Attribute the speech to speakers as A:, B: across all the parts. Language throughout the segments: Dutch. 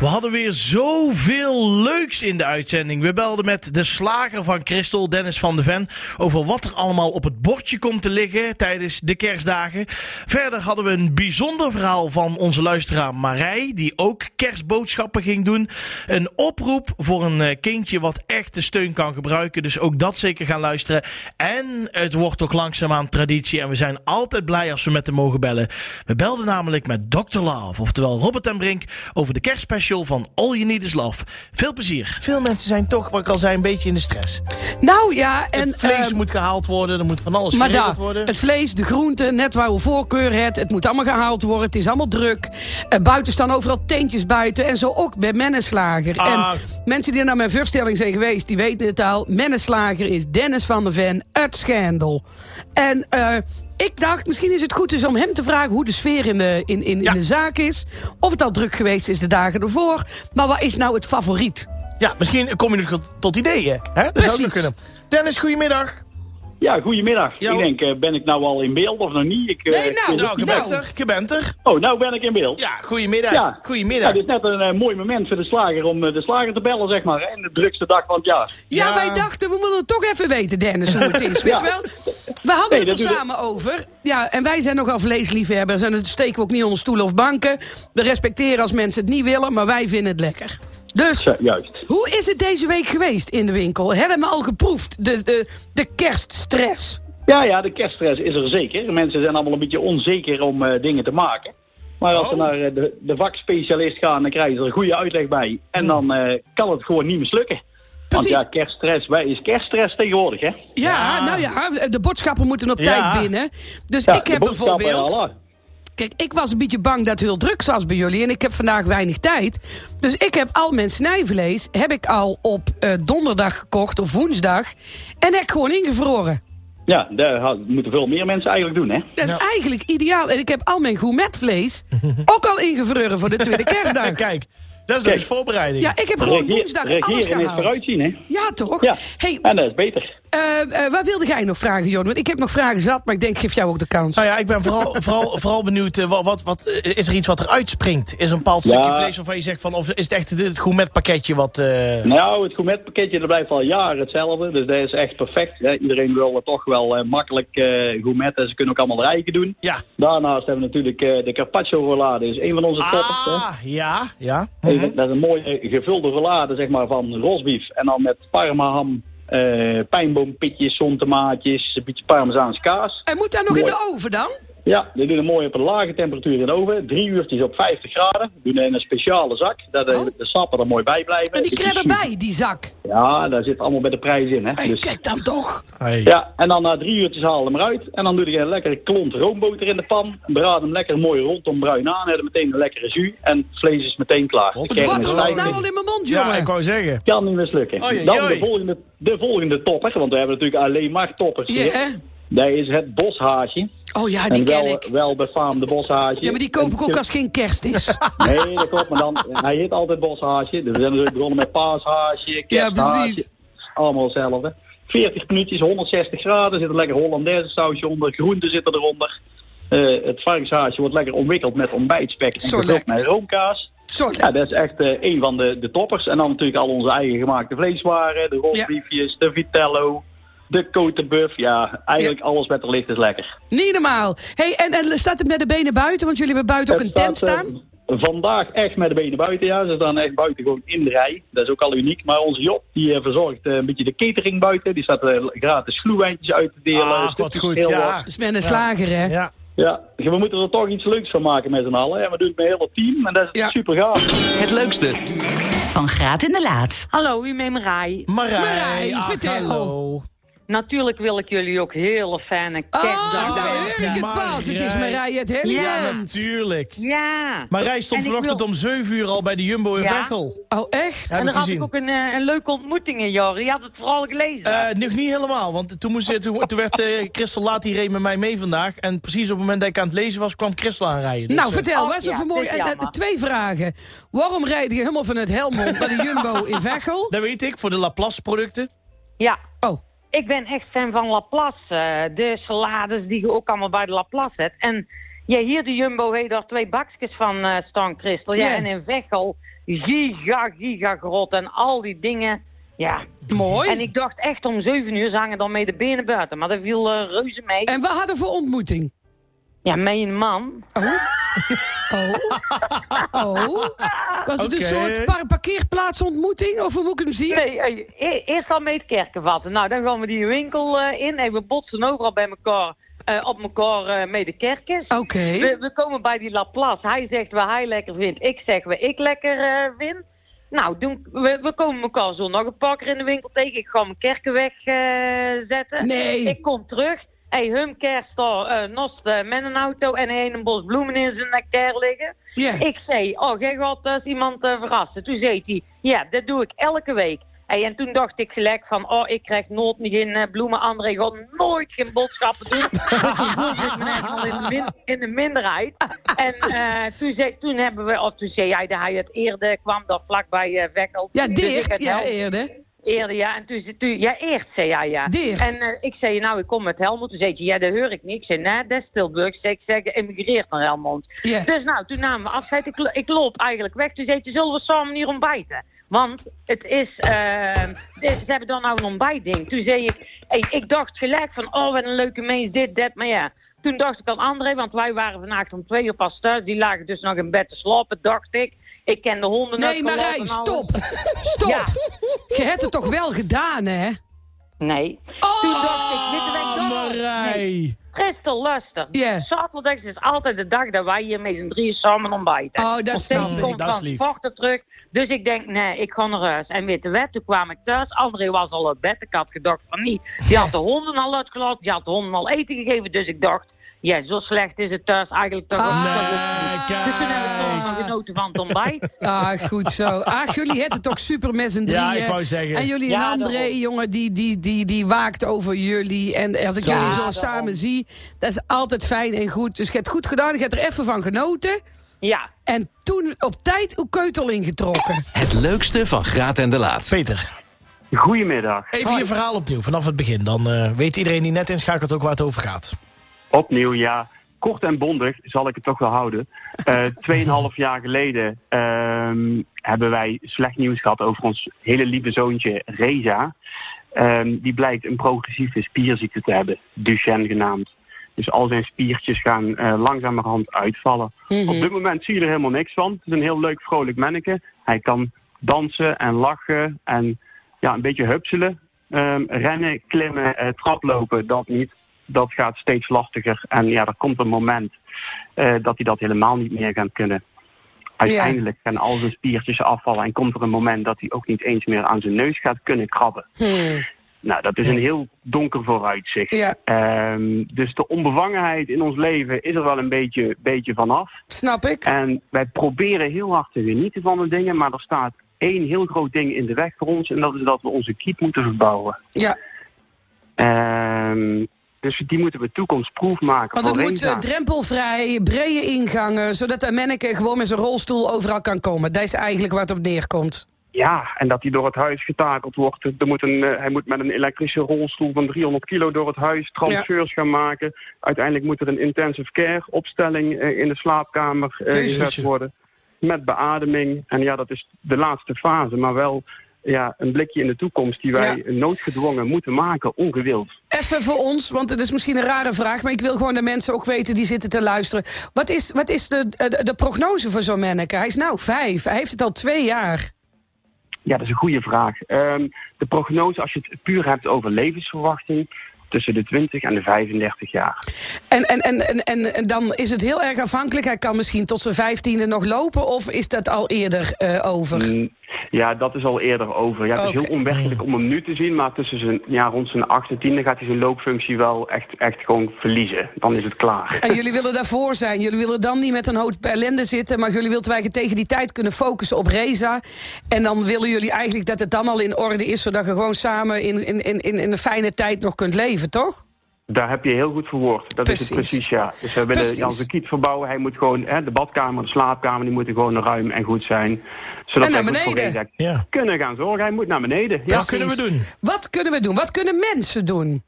A: We hadden weer zoveel leuks in de uitzending. We belden met de slager van Christel, Dennis van de Ven, over wat er allemaal op het bordje komt te liggen tijdens de kerstdagen. Verder hadden we een bijzonder verhaal van onze luisteraar Marij, die ook kerstboodschappen ging doen. Een oproep voor een eh, kindje wat echt de steun kan gebruiken. Dus ook dat zeker gaan luisteren. En het wordt toch langzaamaan traditie en we zijn altijd blij als we met hem mogen bellen. We belden namelijk met Dr. Love, oftewel Robert en Brink, over de kerstspecial van All You Need Is Love. Veel plezier. Veel mensen zijn toch, wat ik al zei, een beetje in de stress.
B: Nou ja, en.
A: het vlees
B: ehm,
A: moet gehaald worden, er moet van alles
B: maar
A: geregeld
B: daar,
A: worden.
B: het vlees, de groenten, net waar we voorkeur het. Het moet allemaal gehaald worden, het is allemaal druk. Eh, buiten staan overal tentjes buiten. En zo ook bij Menneslager.
A: Ah.
B: En mensen die naar mijn voorstelling zijn geweest, die weten het al. Menneslager is Dennis van der Ven uit Schendel. En eh, ik dacht, misschien is het goed dus om hem te vragen hoe de sfeer in de, in, in,
A: Ja.
B: in de zaak is. Of het al druk geweest is de dagen ervoor. Maar wat is nou het favoriet?
A: Ja, misschien kom je nog tot- tot ideeën. Hè? Dat zou ook
B: Precies.
A: nog kunnen. Dennis, goedemiddag.
C: Ja, goedemiddag.
A: Ja,
C: ik
A: hoor.
C: denk, eh, ben ik nou al in beeld of nog niet? Ik, eh,
B: Nee, nou,
C: ik-
A: Nou, je
B: Nou.
A: bent er, je bent er.
C: Oh, nou ben ik in beeld.
A: Ja, goedemiddag.
C: Ja.
A: Goedemiddag.
C: Ja, dit is net een eh, mooi moment voor de slager om eh, de slager te bellen, zeg maar. En de drukste dag van het jaar.
B: Ja,
A: Ja.
B: wij dachten, we moeten het toch even weten, Dennis, hoe het is. Weet je wel? We hadden
C: Nee,
B: het
C: dat
B: er
C: doe-
B: samen over. Ja, en wij zijn nogal vleesliefhebbers. En dat steken we ook niet onder stoelen of banken. We respecteren als mensen het niet willen, maar wij vinden het lekker. Dus,
C: Zo, juist.
B: hoe is het deze week geweest in de winkel? Hebben we al geproefd, de, de, de kerststress?
C: Ja, ja, de kerststress is er zeker. Mensen zijn allemaal een beetje onzeker om eh, dingen te maken. Maar als ze
B: Oh.
C: naar eh, de, de vakspecialist gaan, dan krijgen ze er een goede uitleg bij. En dan eh, kan het gewoon niet mislukken.
B: Hmm. Precies.
C: Want ja, kerststress, wij is kerststress tegenwoordig, hè?
B: Ja, nou ja, de boodschappen moeten op
A: Ja.
B: tijd binnen. Dus
C: Ja,
B: ik heb
C: de boodschappen,
B: bijvoorbeeld...
C: ja, voilà.
B: Kijk, ik was een beetje bang dat het heel druk was bij jullie. En ik heb vandaag weinig tijd. Dus ik heb al mijn snijvlees heb ik al op eh, donderdag gekocht of woensdag. En heb ik gewoon ingevroren.
C: Ja, daar ha- moeten veel meer mensen eigenlijk doen, hè?
B: Dat is eigenlijk ideaal. En ik heb al mijn gourmetvlees ook al ingevroren voor de tweede kerstdag.
A: Kijk, dat is
C: Kijk.
A: dus voorbereiding.
B: Ja, ik heb gewoon
C: Regeer-
B: woensdag alles
C: regeren is
B: gehaald.
C: vooruitzien, hè?
B: Ja, toch?
C: Ja,
B: Hey,
C: en dat is beter.
B: eh, eh, wat wilde jij nog vragen, Jordan? Want ik heb nog vragen zat, maar ik denk, geef jou ook de kans.
C: Ah,
A: Nou ja, ik ben vooral, vooral, vooral benieuwd, eh, wat, wat, wat, eh, is er iets wat er uitspringt? Is er een bepaald stukje
C: Ja.
A: vlees waarvan je zegt van, of is het echt het gourmetpakketje wat... eh,
C: Nou, het gourmetpakketje dat blijft al jaren hetzelfde. Dus dat is echt perfect. Hè. Iedereen wil eh, toch wel eh, makkelijk eh gourmet. En ze kunnen ook allemaal de eiken doen.
A: Ja.
C: Daarnaast hebben we natuurlijk eh, de carpaccio rollade. Dat is een van onze toppers. hè.
A: Ah, ja, ja.
C: Even- Dat is een mooie gevulde rollade zeg maar, van rosbief. En dan met parmaham, eh pijnboompitjes, zonnetemaatjes, een beetje parmezaanse kaas.
B: En moet daar nog in
C: Mooi.
B: de oven dan?
C: Ja, die doen het mooi op een lage temperatuur in de oven. Drie uurtjes op 50 graden. Doen het in een speciale zak. Dat eh,
B: Oh.
C: de sappen er mooi bij blijven.
B: En die
C: Het is
B: krijg
C: super-
B: erbij, die zak.
C: Ja, daar zit allemaal bij de prijs in. Hè?
B: Hey,
C: Dus-
B: kijk dan toch.
A: Hey.
C: ja, en dan na drie uurtjes haal hem eruit. En dan doe je een lekkere klont roomboter in de pan. Braad hem lekker mooi rondom bruin aan. En dan meteen een lekkere jus. En het vlees is meteen klaar.
A: Wat
C: De kern
B: Wat
C: is
B: er
C: vrij.
B: loopt nou al in mijn mond,
A: Ja,
B: jongen?
A: ik wou zeggen.
C: Kan niet mislukken.
A: Oei, oei,
C: Dan de
A: oei.
C: volgende, de volgende topper. Want we hebben natuurlijk alleen maar toppers.
B: Ja,
C: hier.
B: hè?
C: Dat is het boshaasje.
B: Oh ja, die
C: en wel,
B: ken ik.
C: wel befaamde boshaasje.
B: Ja, maar die koop
C: Een
B: ik ook als geen kerst is.
C: Nee, dat klopt, maar dan, hij heet altijd boshaasje. Dus we zijn natuurlijk begonnen met paashaasje,
B: Ja, precies.
C: kersthaasje. Allemaal hetzelfde. 40 minuutjes, 160 graden, zit een lekker Hollandaise sausje onder, groenten zitten eronder. Eh, het varkenshaasje wordt lekker omwikkeld met ontbijtspek en
B: Zo
C: gevuld
B: lekker.
C: met roomkaas.
B: Sorry.
C: Ja, dat is echt eh, een van de, de toppers. En dan natuurlijk al onze eigen gemaakte vleeswaren, de rolbriefjes, de vitello, de kotenbuff. Ja, eigenlijk alles wat er ligt is lekker.
B: Niet normaal. hey, en, en staat het met de benen buiten? Want jullie hebben buiten ook een
C: Het
B: tent
C: staat,
B: staan.
C: eh, vandaag echt met de benen buiten, ja. Ze staan echt buiten gewoon in de rij. Dat is ook al uniek. Maar onze Job, die eh, verzorgt eh, een beetje de catering buiten. Die staat eh, gratis gloewijntjes uit te delen.
A: Ah, wat
C: stukjes
A: goed,
C: heel
A: ja.
C: wat.
B: Dat is met een slager, hè?
A: Ja.
C: ja. We moeten er toch iets leuks van maken met z'n allen. En we doen het met heel het team. En dat is
B: Ja.
C: super gaaf.
D: Het leukste,
E: Van Graat in de Laat.
F: Hallo, u neemt Rai.
A: Marij,
B: Marij,
A: ach,
B: vertel.
F: Oh.
A: hallo.
F: Natuurlijk wil ik jullie ook hele fijne
B: Oh,
F: kerstdag
B: nou
F: wensen.
B: hoor ik het pas. Het is
A: Marij.
B: Marije het hele
F: Ja.
B: jaar.
A: Natuurlijk.
F: Ja.
A: Marij stond
F: En ik
A: vanochtend
F: wil-
A: om 7 uur al bij de Jumbo in
F: Ja?
A: Veghel.
B: Oh, echt?
A: Ja. heb
F: En daar
A: ik
F: had
A: gezien.
F: ik ook een, eh, een leuke ontmoeting in, Jor. Je had het vooral gelezen.
A: Eh, nog niet helemaal, want toen, moest, toen, toen werd eh, Christel laat, die reed met mij mee vandaag. En precies op het moment dat ik aan het lezen was, kwam Christel aanrijden. Dus,
B: nou,
A: eh,
B: vertel,
F: Oh,
B: wat is er
F: ja,
B: voor mooi?
F: dit is
B: en- en-
F: jammer.
B: twee vragen. Waarom rijd je helemaal vanuit Helmond naar de Jumbo in Veghel?
A: dat weet ik, voor de Laplace-producten.
F: ja.
B: Oh,
F: ik ben echt fan van Laplace. eh, de salades die je ook allemaal bij de Laplace hebt. En ja, hier de Jumbo heeft er twee bakjes van eh Stan Christel. Ja,
B: Ja.
F: En in Veghel, giga, giga grot en al die dingen. Ja,
B: Mooi.
F: en ik dacht echt om zeven uur zangen dan mee de benen buiten. Maar dat viel eh, reuze mee.
B: En we hadden voor ontmoeting.
F: Ja, mijn man.
B: Oh. Oh. Oh. Was het
A: Oké.
B: een soort par- parkeerplaatsontmoeting? Of hoe moet ik hem zien?
F: Nee, eh, e- eerst al mee het kerken vatten. Nou, dan gaan we die winkel eh, in en we botsen overal bij elkaar, eh, op elkaar eh, mee de kerkers.
B: Oké.
F: We, we komen bij die Laplace. Hij zegt waar hij lekker vindt. Ik zeg waar ik lekker eh, vind. Nou, doen, we, we komen elkaar zo nog een paar keer in de winkel tegen. Ik ga mijn kerken wegzetten.
B: Nee.
F: Ik kom terug. Hey, hum kerst daar, eh, nost eh, met een auto en hij heeft een bos bloemen in zijn eh, ker liggen.
B: Ja.
F: Ik zei, oh, jij gaat eh, iemand eh, verrassen. Toen zei hij, ja, dat doe ik elke week. Hey, en toen dacht ik gelijk van, oh, ik krijg nooit meer geen eh, bloemen. André gaat nooit geen boodschappen doen. Want die boer zit me echt al in de, min- in de minderheid. En eh, toen, zei, toen hebben we, of toen zei hij dat hij het eerder kwam, dat vlakbij eh Wekkel.
B: Ja,
F: Dus ik
B: dicht.
F: het
B: Ja,
F: help-
B: eerder.
F: Eerder, ja. En toen, toen, ja, eerst, zei hij, ja.
B: Dicht.
F: En eh, ik zei, nou, ik kom met Helmond. Toen zei hij, ja, dat hoor ik niet. Ik zei, nee, dat is Tilburg. Ik zei, ik zeg, emigreert naar Helmond.
B: Ja.
F: Dus nou, toen namen we afscheid. Ik, lo- ik loop eigenlijk weg. Toen zei hij, zullen we samen hier ontbijten? Want het is, eh, ze hebben dan nou een ontbijtding. Toen zei ik, hey, ik dacht gelijk van, oh, wat een leuke mens, dit, dat, maar ja. Toen dacht ik aan André, want wij waren vannacht om twee uur pas thuis. Die lagen dus nog in bed te slapen, dacht ik. Ik ken de honden
B: Nee,
F: net gelopen en
B: Marij,
F: alles.
B: stop. Stop.
F: Ja.
B: Je hebt het toch wel gedaan, hè?
F: Nee.
B: Oh,
F: Toen dacht ik, dit ben ik
A: Ah, Marij.
F: Christel, luister.
B: Ja.
F: Zaterdags is altijd de dag dat wij hier met z'n drieën samen ontbijten.
B: Oh, dat
F: Of
B: snap
F: deze
B: ik.
F: komt
A: Dat is
F: van
A: lief.
F: sporten terug. Dus ik denk, nee, ik ga naar huis. En weet je wat, toen kwam ik thuis. André was al uit bed. Ik had gedacht van niet. Die had de honden al uitgelaten. Die had de honden al eten gegeven. Dus ik dacht, ja, zo slecht is het thuis eigenlijk toch
B: Ah,
F: ook niet.
A: Eh,
F: Dus toen heb ik
A: kijk.
F: toch nog genoten van het ontbijt.
B: Ah, goed zo. Ah, jullie hadden toch super met z'n drieën.
A: Ja, ik wou zeggen.
B: En jullie
F: Ja,
B: en André,
F: daarom.
B: jongen, die, die, die, die waakt over jullie. En als ik jullie zo
F: daarom.
B: samen zie, dat is altijd fijn en goed. Dus je hebt goed gedaan, je hebt er even van genoten.
F: Ja.
B: En toen op tijd uw keutel ingetrokken.
D: Het leukste van Graat en de Laat.
A: Peter,
C: Goedemiddag.
A: even je verhaal opnieuw, vanaf het begin. Dan eh, weet iedereen die net inschakelt ook waar het over gaat.
C: Opnieuw, ja. Kort en bondig zal ik het toch wel houden. Eh, Tweeënhalf jaar geleden ehm, hebben wij slecht nieuws gehad over ons hele lieve zoontje Reza. Ehm, die blijkt een progressieve spierziekte te hebben, Duchenne genaamd. Dus al zijn spiertjes gaan eh, langzamerhand uitvallen. Op dit moment zie je er helemaal niks van. Het is een heel leuk, vrolijk manneke. Hij kan dansen en lachen en ja, een beetje hupselen. Ehm, rennen, klimmen, eh, traplopen, dat niet. Dat gaat steeds lastiger. En ja, er komt een moment eh, dat hij dat helemaal niet meer gaat kunnen. Uiteindelijk gaan al zijn spiertjes afvallen en komt er een moment dat hij ook niet eens meer aan zijn neus gaat kunnen krabben. Nou, dat is een heel donker vooruitzicht.
B: Ja.
C: Ehm, dus de onbevangenheid in ons leven is er wel een beetje, beetje vanaf.
B: Snap ik?
C: En wij proberen heel hard te genieten van de dingen, maar er staat één heel groot ding in de weg voor ons. En dat is dat we onze kiep moeten verbouwen.
B: Ja.
C: Ehm, dus die moeten we toekomstproef maken.
B: Want het
C: voor
B: moet
C: Reza.
B: eh, drempelvrij, brede ingangen, zodat de manneke gewoon met zijn rolstoel overal kan komen. Dat is eigenlijk waar het op neerkomt.
C: Ja, en dat hij door het huis getakeld wordt. Er moet een, eh, hij moet met een elektrische rolstoel van 300 kilo door het huis transfers gaan maken. Uiteindelijk moet er een intensive care opstelling eh, in de slaapkamer eh,
B: Jezus.
C: gezet worden. Met beademing. En ja, dat is de laatste fase, maar wel ja, een blikje in de toekomst die wij noodgedwongen moeten maken, ongewild.
B: Even voor ons, want het is misschien een rare vraag, maar ik wil gewoon de mensen ook weten die zitten te luisteren. Wat is, wat is de, eh, de, de prognose voor zo'n manneke? Hij is nou vijf, hij heeft het al twee jaar.
C: Ja, dat is een goede vraag. Ehm, de prognose, als je het puur hebt over levensverwachting, tussen de 20 en de 35 jaar.
B: En, en, en, en, en, en dan is het heel erg afhankelijk. Hij kan misschien tot zijn vijftiende nog lopen, of is dat al eerder eh, over?
C: Mm, Ja, dat is al eerder over. Ja, het
B: Oké.
C: is heel onwerkelijk om hem nu te zien, maar tussen zijn, ja, rond zijn 8 en 10 gaat hij zijn loopfunctie wel echt, echt gewoon verliezen. Dan is het klaar.
B: En jullie willen daarvoor zijn. Jullie willen dan niet met een hoop ellende zitten. Maar jullie willen eigenlijk tegen die tijd kunnen focussen op Reza. En dan willen jullie eigenlijk dat het dan al in orde is. Zodat je gewoon samen in, in, in, in een fijne tijd nog kunt leven, toch?
G: Daar heb je heel goed verwoord. Dat is het
B: Precies.
G: precies, ja. Dus we willen
B: Precies.
G: Janse Kiet verbouwen. Hij moet gewoon, hè, de badkamer, de slaapkamer, die moeten gewoon ruim en goed zijn. Zodat
B: En naar
G: wij goed voor
B: beneden.
G: Gezak
A: Ja.
G: kunnen gaan zorgen. Hij moet naar beneden. Ja.
A: Wat kunnen we doen?
B: Wat kunnen we doen? Wat kunnen mensen doen?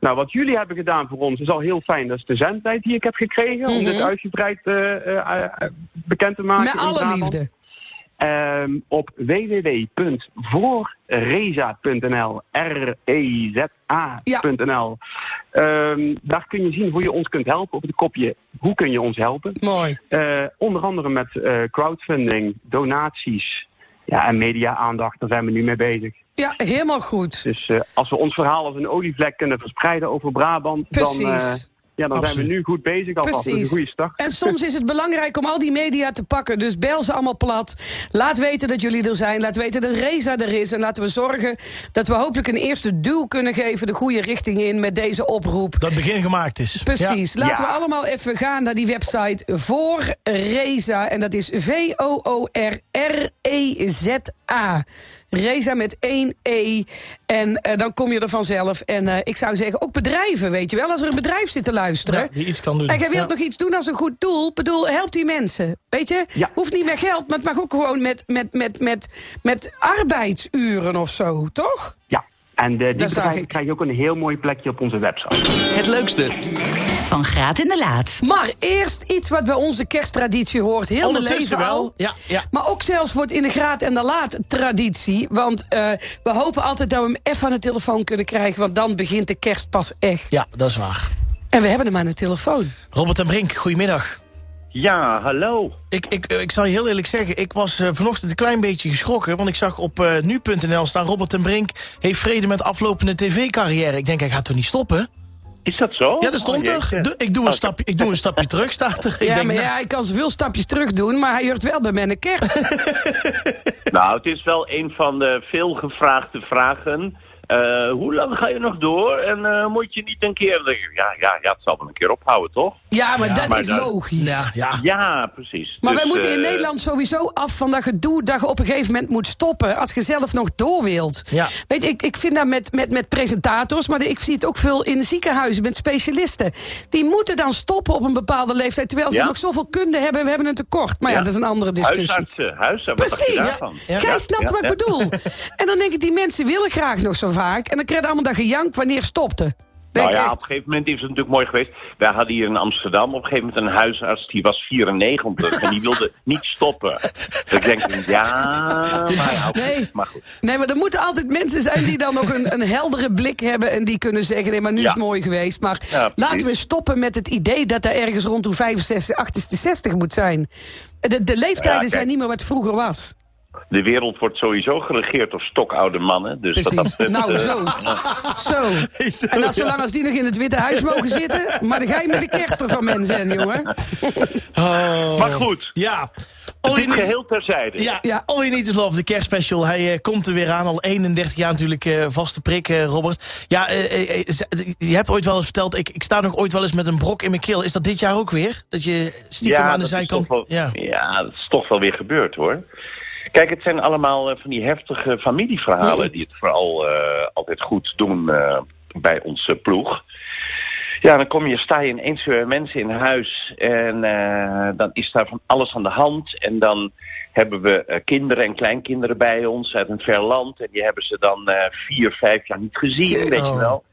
G: Nou, wat jullie hebben gedaan voor ons is al heel fijn. Dat is de zendtijd die ik heb gekregen. Om
A: Mhm.
G: dit uitgebreid eh, eh, eh, bekend te maken.
B: Met
G: in
B: alle
G: Brabant.
B: liefde.
G: Ehm, op www.voorreza.nl E R-E-Z-A.nl Ehm, Daar kun je zien hoe je ons kunt helpen. Op het kopje, hoe kun je ons helpen?
B: Mooi.
G: Eh, onder andere met eh, crowdfunding, donaties ja, en media-aandacht. Daar zijn we nu mee bezig.
B: Ja, helemaal goed.
G: Dus eh, als we ons verhaal als een olievlek kunnen verspreiden over Brabant... dan, eh,
B: Precies.
G: ja, dan zijn we
A: Absoluut.
G: nu goed bezig alvast. Dat is een goede
B: Precies.
G: start.
B: En soms is het belangrijk om al die media te pakken. Dus bel ze allemaal plat. Laat weten dat jullie er zijn. Laat weten dat Reza er is. En laten we zorgen dat we hopelijk een eerste duw kunnen geven... de goede richting in met deze oproep.
A: Dat begin gemaakt is.
B: Precies. Laten
G: Ja.
B: we allemaal even gaan naar die website voor Reza. En dat is V-O-O-R-R-E-Z-A. E Reza met één E. En eh, dan kom je er vanzelf. En eh, ik zou zeggen, ook bedrijven, weet je wel. Als er een bedrijf zit te luisteren.
A: Ja, die iets kan doen.
B: En jij wilt
A: Ja.
B: nog iets doen als een goed doel. Ik bedoel, help die mensen. Weet je?
G: Ja.
B: Hoeft niet met geld, maar het mag ook gewoon met, met, met, met, met arbeidsuren of zo, toch?
G: Ja, en eh, die
B: Dat zag
G: bedrijven
B: ik.
G: krijgen ook een heel mooi plekje op onze website.
D: Het leukste,
E: Van Graat in de Laat.
B: Maar eerst iets wat bij onze kersttraditie hoort. Heel mijn leven
A: Ondertussen
B: al.
A: wel. Ja, ja.
B: Maar ook zelfs wordt in de graad en de laat traditie. Want eh, we hopen altijd dat we hem even aan de telefoon kunnen krijgen. Want dan begint de kerst pas echt.
A: ja, dat is waar.
B: En we hebben hem aan de telefoon.
A: Robert en Brink, goedemiddag.
H: Ja, hallo.
A: Ik, ik, eh, ik zal je heel eerlijk zeggen, ik was eh, vanochtend een klein beetje geschrokken. Want ik zag op eh, nu.nl staan... Robert en Brink heeft vrede met aflopende tv-carrière. Ik denk, hij gaat toch niet stoppen?
H: Is dat zo?
A: Ja, dat stond
H: Oh,
A: er.
H: jeetje.
A: De- ik, doe een stapje, ik doe een stapje terug, staat er. Ik
B: ja,
A: denk,
B: maar
A: nou,
B: ja, ik kan zoveel stapjes terug doen. Maar hij hoort wel bij mijn kerst.
H: Nou, het is wel een van de veel gevraagde vragen. Eh, hoe lang ga je nog door? En eh, moet je niet een keer... Ja, ja, ja, het zal wel een keer ophouden, toch?
B: ja, maar dat
H: maar
B: is
H: dat-
B: logisch.
A: ja, ja.
H: Ja, precies.
B: Maar
H: Dus,
B: wij moeten in
H: eh,
B: Nederland sowieso af van dat gedoe dat je op een gegeven moment moet stoppen. Als je zelf nog door wilt.
A: Ja.
B: Weet je, ik, ik vind dat met, met, met presentators, maar ik zie het ook veel in ziekenhuizen met specialisten. Die moeten dan stoppen op een bepaalde leeftijd. Terwijl ze
H: Ja.
B: nog zoveel kunde hebben en we hebben een tekort. Maar ja,
H: Ja.
B: dat is een andere discussie.
H: Huisartsen, huisartsen. Wat dacht je
B: Precies.
H: daarvan?
B: Jij snapt
H: Ja,
B: wat ik
H: ja. Nou
B: bedoel. En dan denk ik, die mensen willen graag nog zo vaak. En dan krijg je allemaal dat gejank wanneer stopte. Denk
H: Nou ja,
B: echt,
H: op een gegeven moment is het natuurlijk mooi geweest. Wij hadden hier in Amsterdam op een gegeven moment een huisarts, die was 94 en die wilde niet stoppen. Dus ik denk, ja, maar, ja, oké,
B: Nee.
H: maar goed.
B: Nee, maar er moeten altijd mensen zijn die dan nog een, een heldere blik hebben... en die kunnen zeggen, nee, maar nu is
H: Ja.
B: het mooi geweest. Maar
H: Ja, precies.
B: laten we stoppen met het idee dat er ergens rond de 65, 68, 60 moet zijn. De, de leeftijden
H: Ja, kijk. Dus
B: zijn niet meer wat vroeger was.
H: De wereld wordt sowieso geregeerd door stokoude mannen. Dus wat dat
B: Precies.
H: betreft,
B: nou,
H: eh,
B: zo. Zo. En als, zolang als die nog in het Witte Huis mogen zitten... maar dan ga je met de kerst ervan mensen zijn, jongen.
H: Maar goed,
A: Oh. Ja. All you
H: dit
A: need,
H: geheel terzijde.
A: ja,
B: Ja.
A: All You Need Is Love, de kerstspecial. Hij eh, komt er weer aan, al 31 jaar natuurlijk eh vaste prik, eh, Robert. Ja, eh, eh, eh, ze- je hebt ooit wel eens verteld, ik, ik sta nog ooit wel eens met een brok in mijn keel. Is dat dit jaar ook weer? Dat je stiekem aan de
H: dat is
A: zijkant...
H: toch wel-
A: Ja.
H: ja. dat is toch wel weer gebeurd hoor. Kijk, het zijn allemaal eh, van die heftige familieverhalen die het vooral eh, altijd goed doen eh, bij onze ploeg. Ja, dan kom je, sta je ineens weer met mensen in huis en eh, dan is daar van alles aan de hand. En dan hebben we eh, kinderen en kleinkinderen bij ons uit een ver land. En die hebben ze dan eh, vier, vijf jaar niet gezien, weet je wel.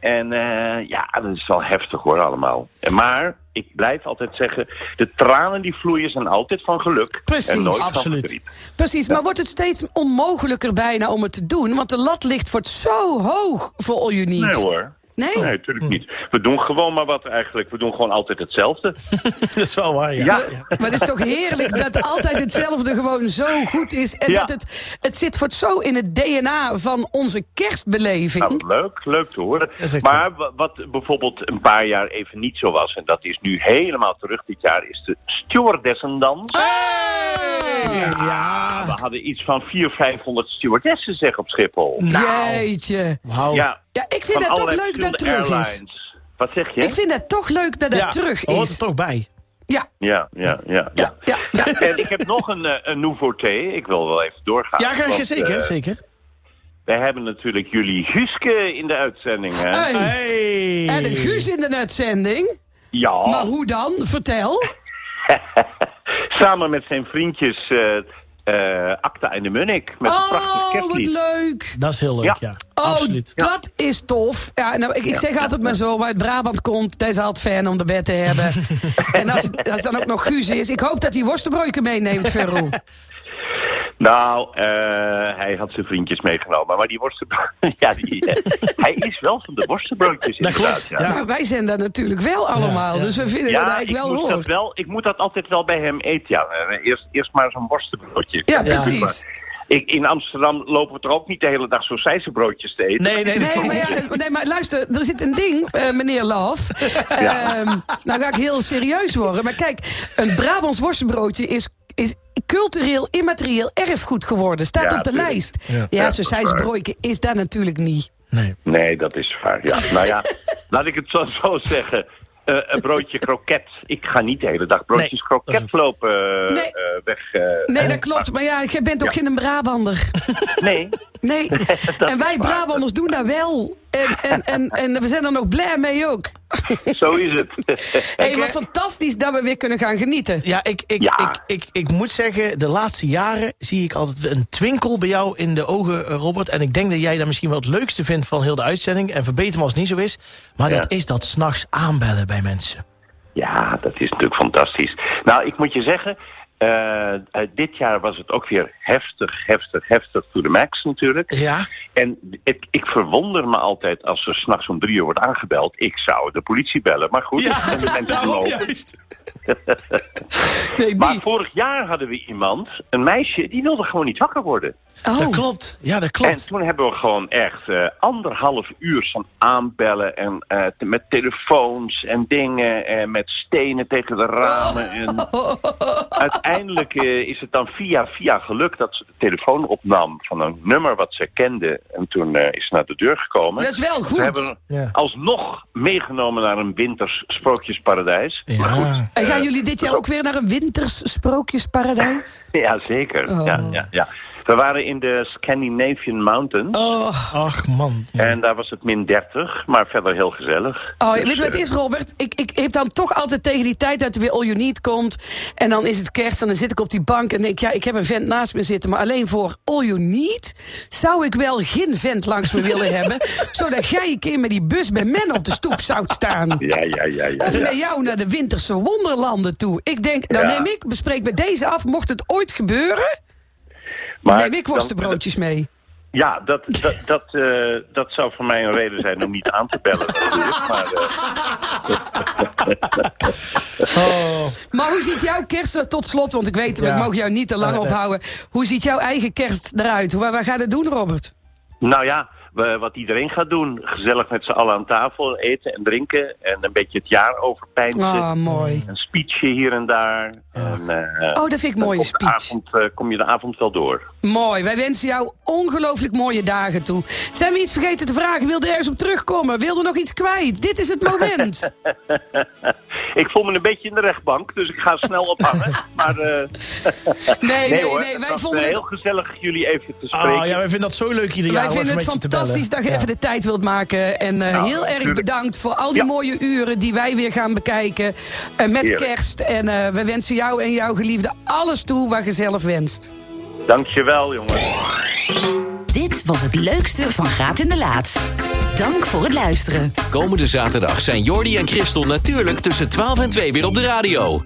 H: En eh, ja, dat is wel heftig hoor allemaal. En Maar ik blijf altijd zeggen, de tranen die vloeien zijn altijd van geluk.
B: Precies,
H: en nooit
A: absoluut.
H: Van verdriet.
B: Precies, maar wordt het steeds onmogelijker bijna om het te doen? Want de lat ligt voor het zo hoog voor All You Need.
H: nee hoor.
B: Nee?
H: Nee, natuurlijk niet. We doen gewoon maar wat eigenlijk. We doen gewoon altijd hetzelfde.
A: Dat is wel waar, ja.
B: Maar het is toch heerlijk dat altijd hetzelfde gewoon zo goed is. En
H: Ja.
B: dat het, het zit voor het zo in het DNA van onze kerstbeleving.
H: Nou, leuk, leuk te horen.
A: Mhm. Dat is echt
H: Maar wa- wat bijvoorbeeld een paar jaar even niet zo was, en dat is nu helemaal terug dit jaar, is de stewardessendans.
B: Ah! Hey!
A: Ah.
H: We hadden iets van 400, 500 stewardessen zeg op Schiphol.
B: Jeetje.
A: Wauw.
H: Ja,
B: Ja, ik vind
H: van
B: dat toch
H: allerlei
B: leuk dat het
H: verschillende
B: terug is.
H: airlines. Wat zeg je?
B: Ik vind dat toch leuk dat het
A: Ja,
B: Eh, terug
A: hoort
B: is.
A: er toch bij.
B: Ja,
H: Ja, ja, ja.
B: ja, ja. ja.
H: En ik heb nog een, eh, een nouveauté. Ik wil wel even doorgaan.
A: Ja, ga
H: want,
A: je zeker,
H: eh,
A: zeker.
H: We hebben natuurlijk jullie Guuske in de uitzending, hè?
B: Hey.
A: Hey.
B: En de Guus in de uitzending.
H: ja.
B: Maar hoe dan? Vertel.
H: Samen met zijn vriendjes eh eh, Acta en de Munnik. Met een prachtig
B: Oh, wat
H: kerstlied.
B: leuk.
A: Dat is heel leuk, ja.
H: Ja.
B: Oh,
A: Absoluut.
B: dat is tof. Ja, nou, ik, ik zeg altijd maar zo, waar uit Brabant komt, deze is altijd fan om de bed te hebben. en als, het- als het dan ook nog Guus is, ik hoop dat hij worstenbroeken meeneemt, Ferro.
H: Nou, eh, hij had zijn vriendjes meegenomen. Maar die worstenbroodjes... ja, die, eh, hij is wel van de worstenbroodjes
A: Dat
H: inderdaad.
A: klopt,
H: ja.
A: ja.
B: Maar Nou, wij zijn dat natuurlijk wel allemaal,
A: Ja, ja.
B: dus we vinden dat
H: Ja, ik,
B: eigenlijk wel
H: moet dat
B: hoort.
H: wel, ik moet dat altijd wel bij hem eten. Ja. Eh, Eerst, eerst maar zo'n worstenbroodje.
B: Ja, precies.
H: Ik, in Amsterdam lopen we er ook niet de hele dag zo'n zijzenbroodjes te eten.
A: Nee, nee, nee.
B: Nee maar, ja, nee, maar luister, er zit een ding, eh, meneer Laf. Ehm, nou ga ik heel serieus worden. Maar kijk, een Brabants worstenbroodje is, is cultureel immaterieel erfgoed geworden. Staat
H: Ja,
B: op de
H: tuurlijk.
B: lijst. Ja,
A: Ja.
B: ja
H: Ja,
B: zo'n
H: dat is waar.
B: zijsbroodje is dat natuurlijk niet.
A: Nee.
H: Nee, dat is waar. Ja. nou ja, laat ik het zo, zo zeggen. Eh, een broodje kroket. Ik ga niet de hele dag broodjes
A: Nee,
H: kroket
A: dat is
H: lopen eh,
B: Nee.
H: eh, weg. eh,
B: Nee, dat klopt. Maar ja, jij bent toch
H: Ja.
B: geen Brabander?
H: Nee,
B: Nee. En wij Brabanders doen dat wel. En, en, en, en we zijn er nog blij mee ook.
H: zo is het.
B: Hé,
H: eh,
B: hey, wat fantastisch dat we weer kunnen gaan genieten.
A: Ja, ik, ik,
H: Ja.
A: Ik, ik, ik moet zeggen, de laatste jaren zie ik altijd een twinkel bij jou in de ogen, eh, Robert. En ik denk dat jij dat misschien wel het leukste vindt van heel de uitzending. En verbeter me als het niet zo is. Maar
H: Ja.
A: dat is dat s'nachts aanbellen bij mensen.
H: Ja, dat is natuurlijk fantastisch. Nou, ik moet je zeggen, eh, eh, dit jaar was het ook weer heftig, heftig, heftig to the max natuurlijk.
A: Ja.
H: En ik, ik verwonder me altijd als er s'nachts om drie uur wordt aangebeld. Ik zou de politie bellen, maar goed. ik ben de mensen
A: daarom
H: gelopen.
A: juist.
B: Nee, die.
H: Maar vorig jaar hadden we iemand, een meisje, die wilde gewoon niet wakker worden.
A: Dat
B: oh,
A: klopt. Ja, dat
H: En
A: klopt.
H: toen hebben we gewoon echt eh, anderhalf uur van aanbellen en eh, te- met telefoons en dingen en met stenen tegen de ramen. En uiteindelijk eh, is het dan via via gelukt dat ze de telefoon opnam van een nummer wat ze kende. En toen eh, is ze naar de deur gekomen.
B: dat is wel
H: we
B: goed.
H: hebben
A: Ja.
H: haar alsnog meegenomen naar een winters sprookjesparadijs. Maar goed,
A: Ja.
B: En gaan jullie dit jaar ook weer naar een winters sprookjesparadijs?
H: Ja, zeker.
B: Oh.
H: Ja, ja, ja. We waren in de Scandinavian Mountains.
B: Oh,
A: Ach man.
H: En daar was het min 30, maar verder heel gezellig.
B: oh
H: Dus,
B: weet je wat het
H: eh,
B: is, Robert? Ik, ik heb dan toch altijd tegen die tijd dat er weer All You Need komt. En dan is het kerst en dan zit ik op die bank en denk... ja, ik heb een vent naast me zitten, maar alleen voor All You Need... zou ik wel geen vent langs me willen hebben... zodat jij een keer met die bus bij men op de stoep zou staan.
H: Ja, ja, ja, ja.
B: Of
H: ja.
B: met jou naar de winterse wonderlanden toe. Ik denk, nou
H: Ja.
B: neem ik, bespreek bij deze af... mocht het ooit gebeuren, neem ik
H: dan-
B: worstenbroodjes mee.
H: Ja, dat, dat, dat, eh, dat zou voor mij een reden zijn om niet aan te bellen. natuurlijk. Maar, eh,
B: Maar hoe ziet jouw kerst er tot slot? Want ik weet,
A: Ja.
B: ik mag jou niet te lang
A: Nee, nee.
B: ophouden. Hoe ziet jouw eigen kerst eruit? Hoe, waar gaat het doen, Robert?
H: nou ja, we- wat iedereen gaat doen. Gezellig met z'n allen aan tafel eten en drinken. En een beetje het jaar overpeinzen.
B: Ah, mooi.
H: Een speechje hier en daar. En, eh,
B: Oh, dat vind ik een mooie
H: op de
B: speech.
H: avond eh, kom je de avond wel door.
B: Mooi. Wij wensen jou ongelooflijk mooie dagen toe. Zijn we iets vergeten te vragen? Wilde ergens op terugkomen? Wilde nog iets kwijt? Dit is het moment.
H: Ik voel me een beetje in de rechtbank, dus ik ga snel ophangen. maar eh,
B: Nee,
H: nee,
B: nee,
H: hoor,
B: nee.
H: het
B: Wij
H: was,
B: vonden
H: eh,
B: het
H: heel gezellig jullie even te spreken.
A: Oh, ja, wij vinden dat zo leuk ieder jaar.
B: Wij
A: om even
B: vinden het
A: met je te
B: fantastisch dat
A: bellen.
B: je even de tijd wilt maken. En eh,
H: Nou,
B: heel erg
H: natuurlijk.
B: bedankt voor al die
H: Ja.
B: mooie uren die wij weer gaan bekijken. eh, met
H: Heerlijk.
B: kerst. En eh, we wensen jou en jouw geliefde alles toe waar je zelf wenst.
H: Dankjewel, jongens.
E: Dit was het leukste van Graat in de Laat. Dank voor het luisteren.
D: Komende zaterdag zijn Jordi en Christel natuurlijk tussen 12 en 2 weer op de radio.